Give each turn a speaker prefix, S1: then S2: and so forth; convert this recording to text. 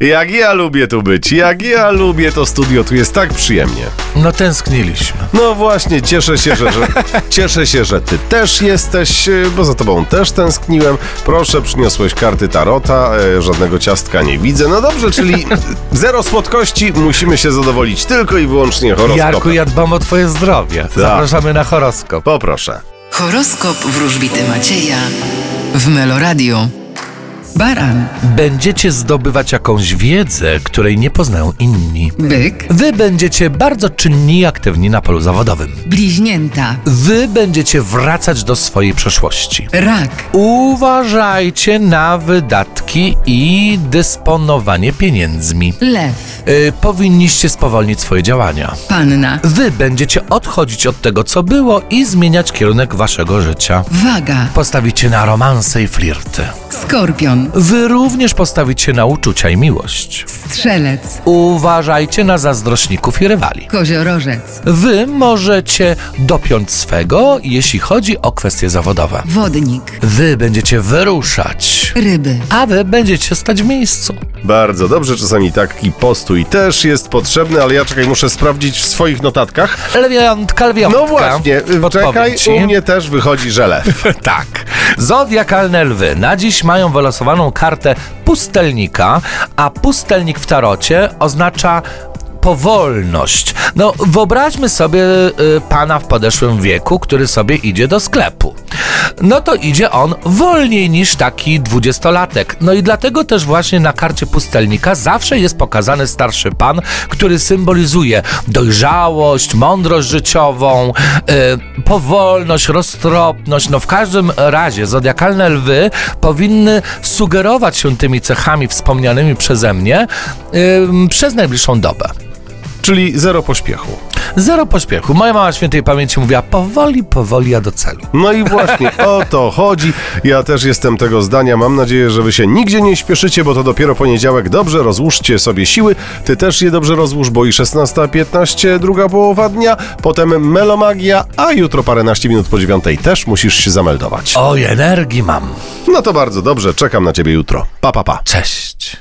S1: Jak ja lubię tu być, jak ja lubię to studio, tu jest tak przyjemnie.
S2: No tęskniliśmy.
S1: No właśnie, cieszę się, że, że cieszę się, że ty też jesteś, y, bo za tobą też tęskniłem. Proszę, przyniosłeś karty tarota, y, żadnego ciastka nie widzę. No dobrze, czyli zero słodkości, musimy się zadowolić tylko i wyłącznie
S2: Jarku,
S1: horoskopem.
S2: ja dbam o twoje zdrowie. Zapraszamy na horoskop.
S1: Poproszę.
S3: Horoskop wróżbity Macieja w Meloradio. Baran,
S2: Będziecie zdobywać jakąś wiedzę, której nie poznają inni.
S3: byk,
S2: Wy będziecie bardzo czynni i aktywni na polu zawodowym.
S3: bliźnięta,
S2: Wy będziecie wracać do swojej przeszłości.
S3: rak,
S2: Uważajcie na wydatki i dysponowanie pieniędzmi.
S3: lew,
S2: Y, powinniście spowolnić swoje działania.
S3: panna,
S2: Wy będziecie odchodzić od tego, co było i zmieniać kierunek waszego życia.
S3: waga,
S2: Postawicie na romanse i flirty.
S3: skorpion,
S2: Wy również postawicie na uczucia i miłość.
S3: strzelec,
S2: Uważajcie na zazdrośników i rywali.
S3: koziorożec,
S2: Wy możecie dopiąć swego, jeśli chodzi o kwestie zawodowe.
S3: wodnik,
S2: Wy będziecie wyruszać,
S3: ryby.
S2: a wy będziecie stać w miejscu.
S1: Bardzo dobrze, czasami taki postój też jest potrzebny, ale ja czekaj, muszę sprawdzić w swoich notatkach.
S2: Lewiątka, lewiątka.
S1: No właśnie, y, czekaj,
S2: Podpowiedź.
S1: u mnie też wychodzi żele.
S2: Tak. Zodiakalne lwy na dziś mają wylosowaną kartę pustelnika, a pustelnik w tarocie oznacza powolność. No, wyobraźmy sobie y, pana w podeszłym wieku, który sobie idzie do sklepu. No to idzie on wolniej niż taki dwudziestolatek. No i dlatego też właśnie na karcie pustelnika zawsze jest pokazany starszy pan, który symbolizuje dojrzałość, mądrość życiową, y, powolność, roztropność. No w każdym razie zodiakalne lwy powinny sugerować się tymi cechami wspomnianymi przeze mnie ym, przez najbliższą dobę.
S1: Czyli zero pośpiechu.
S2: Zero pośpiechu. Moja mama świętej pamięci mówiła powoli, powoli, a do celu.
S1: No i właśnie o to chodzi. Ja też jestem tego zdania. Mam nadzieję, że wy się nigdzie nie śpieszycie, bo to dopiero poniedziałek. Dobrze rozłóżcie sobie siły. Ty też je dobrze rozłóż, bo i 16.15, druga połowa dnia, potem melomagia, a jutro paręnaście minut po dziewiątej też musisz się zameldować.
S2: Oj, energii mam.
S1: No to bardzo dobrze, czekam na ciebie jutro. Pa, pa, pa.
S2: Cześć.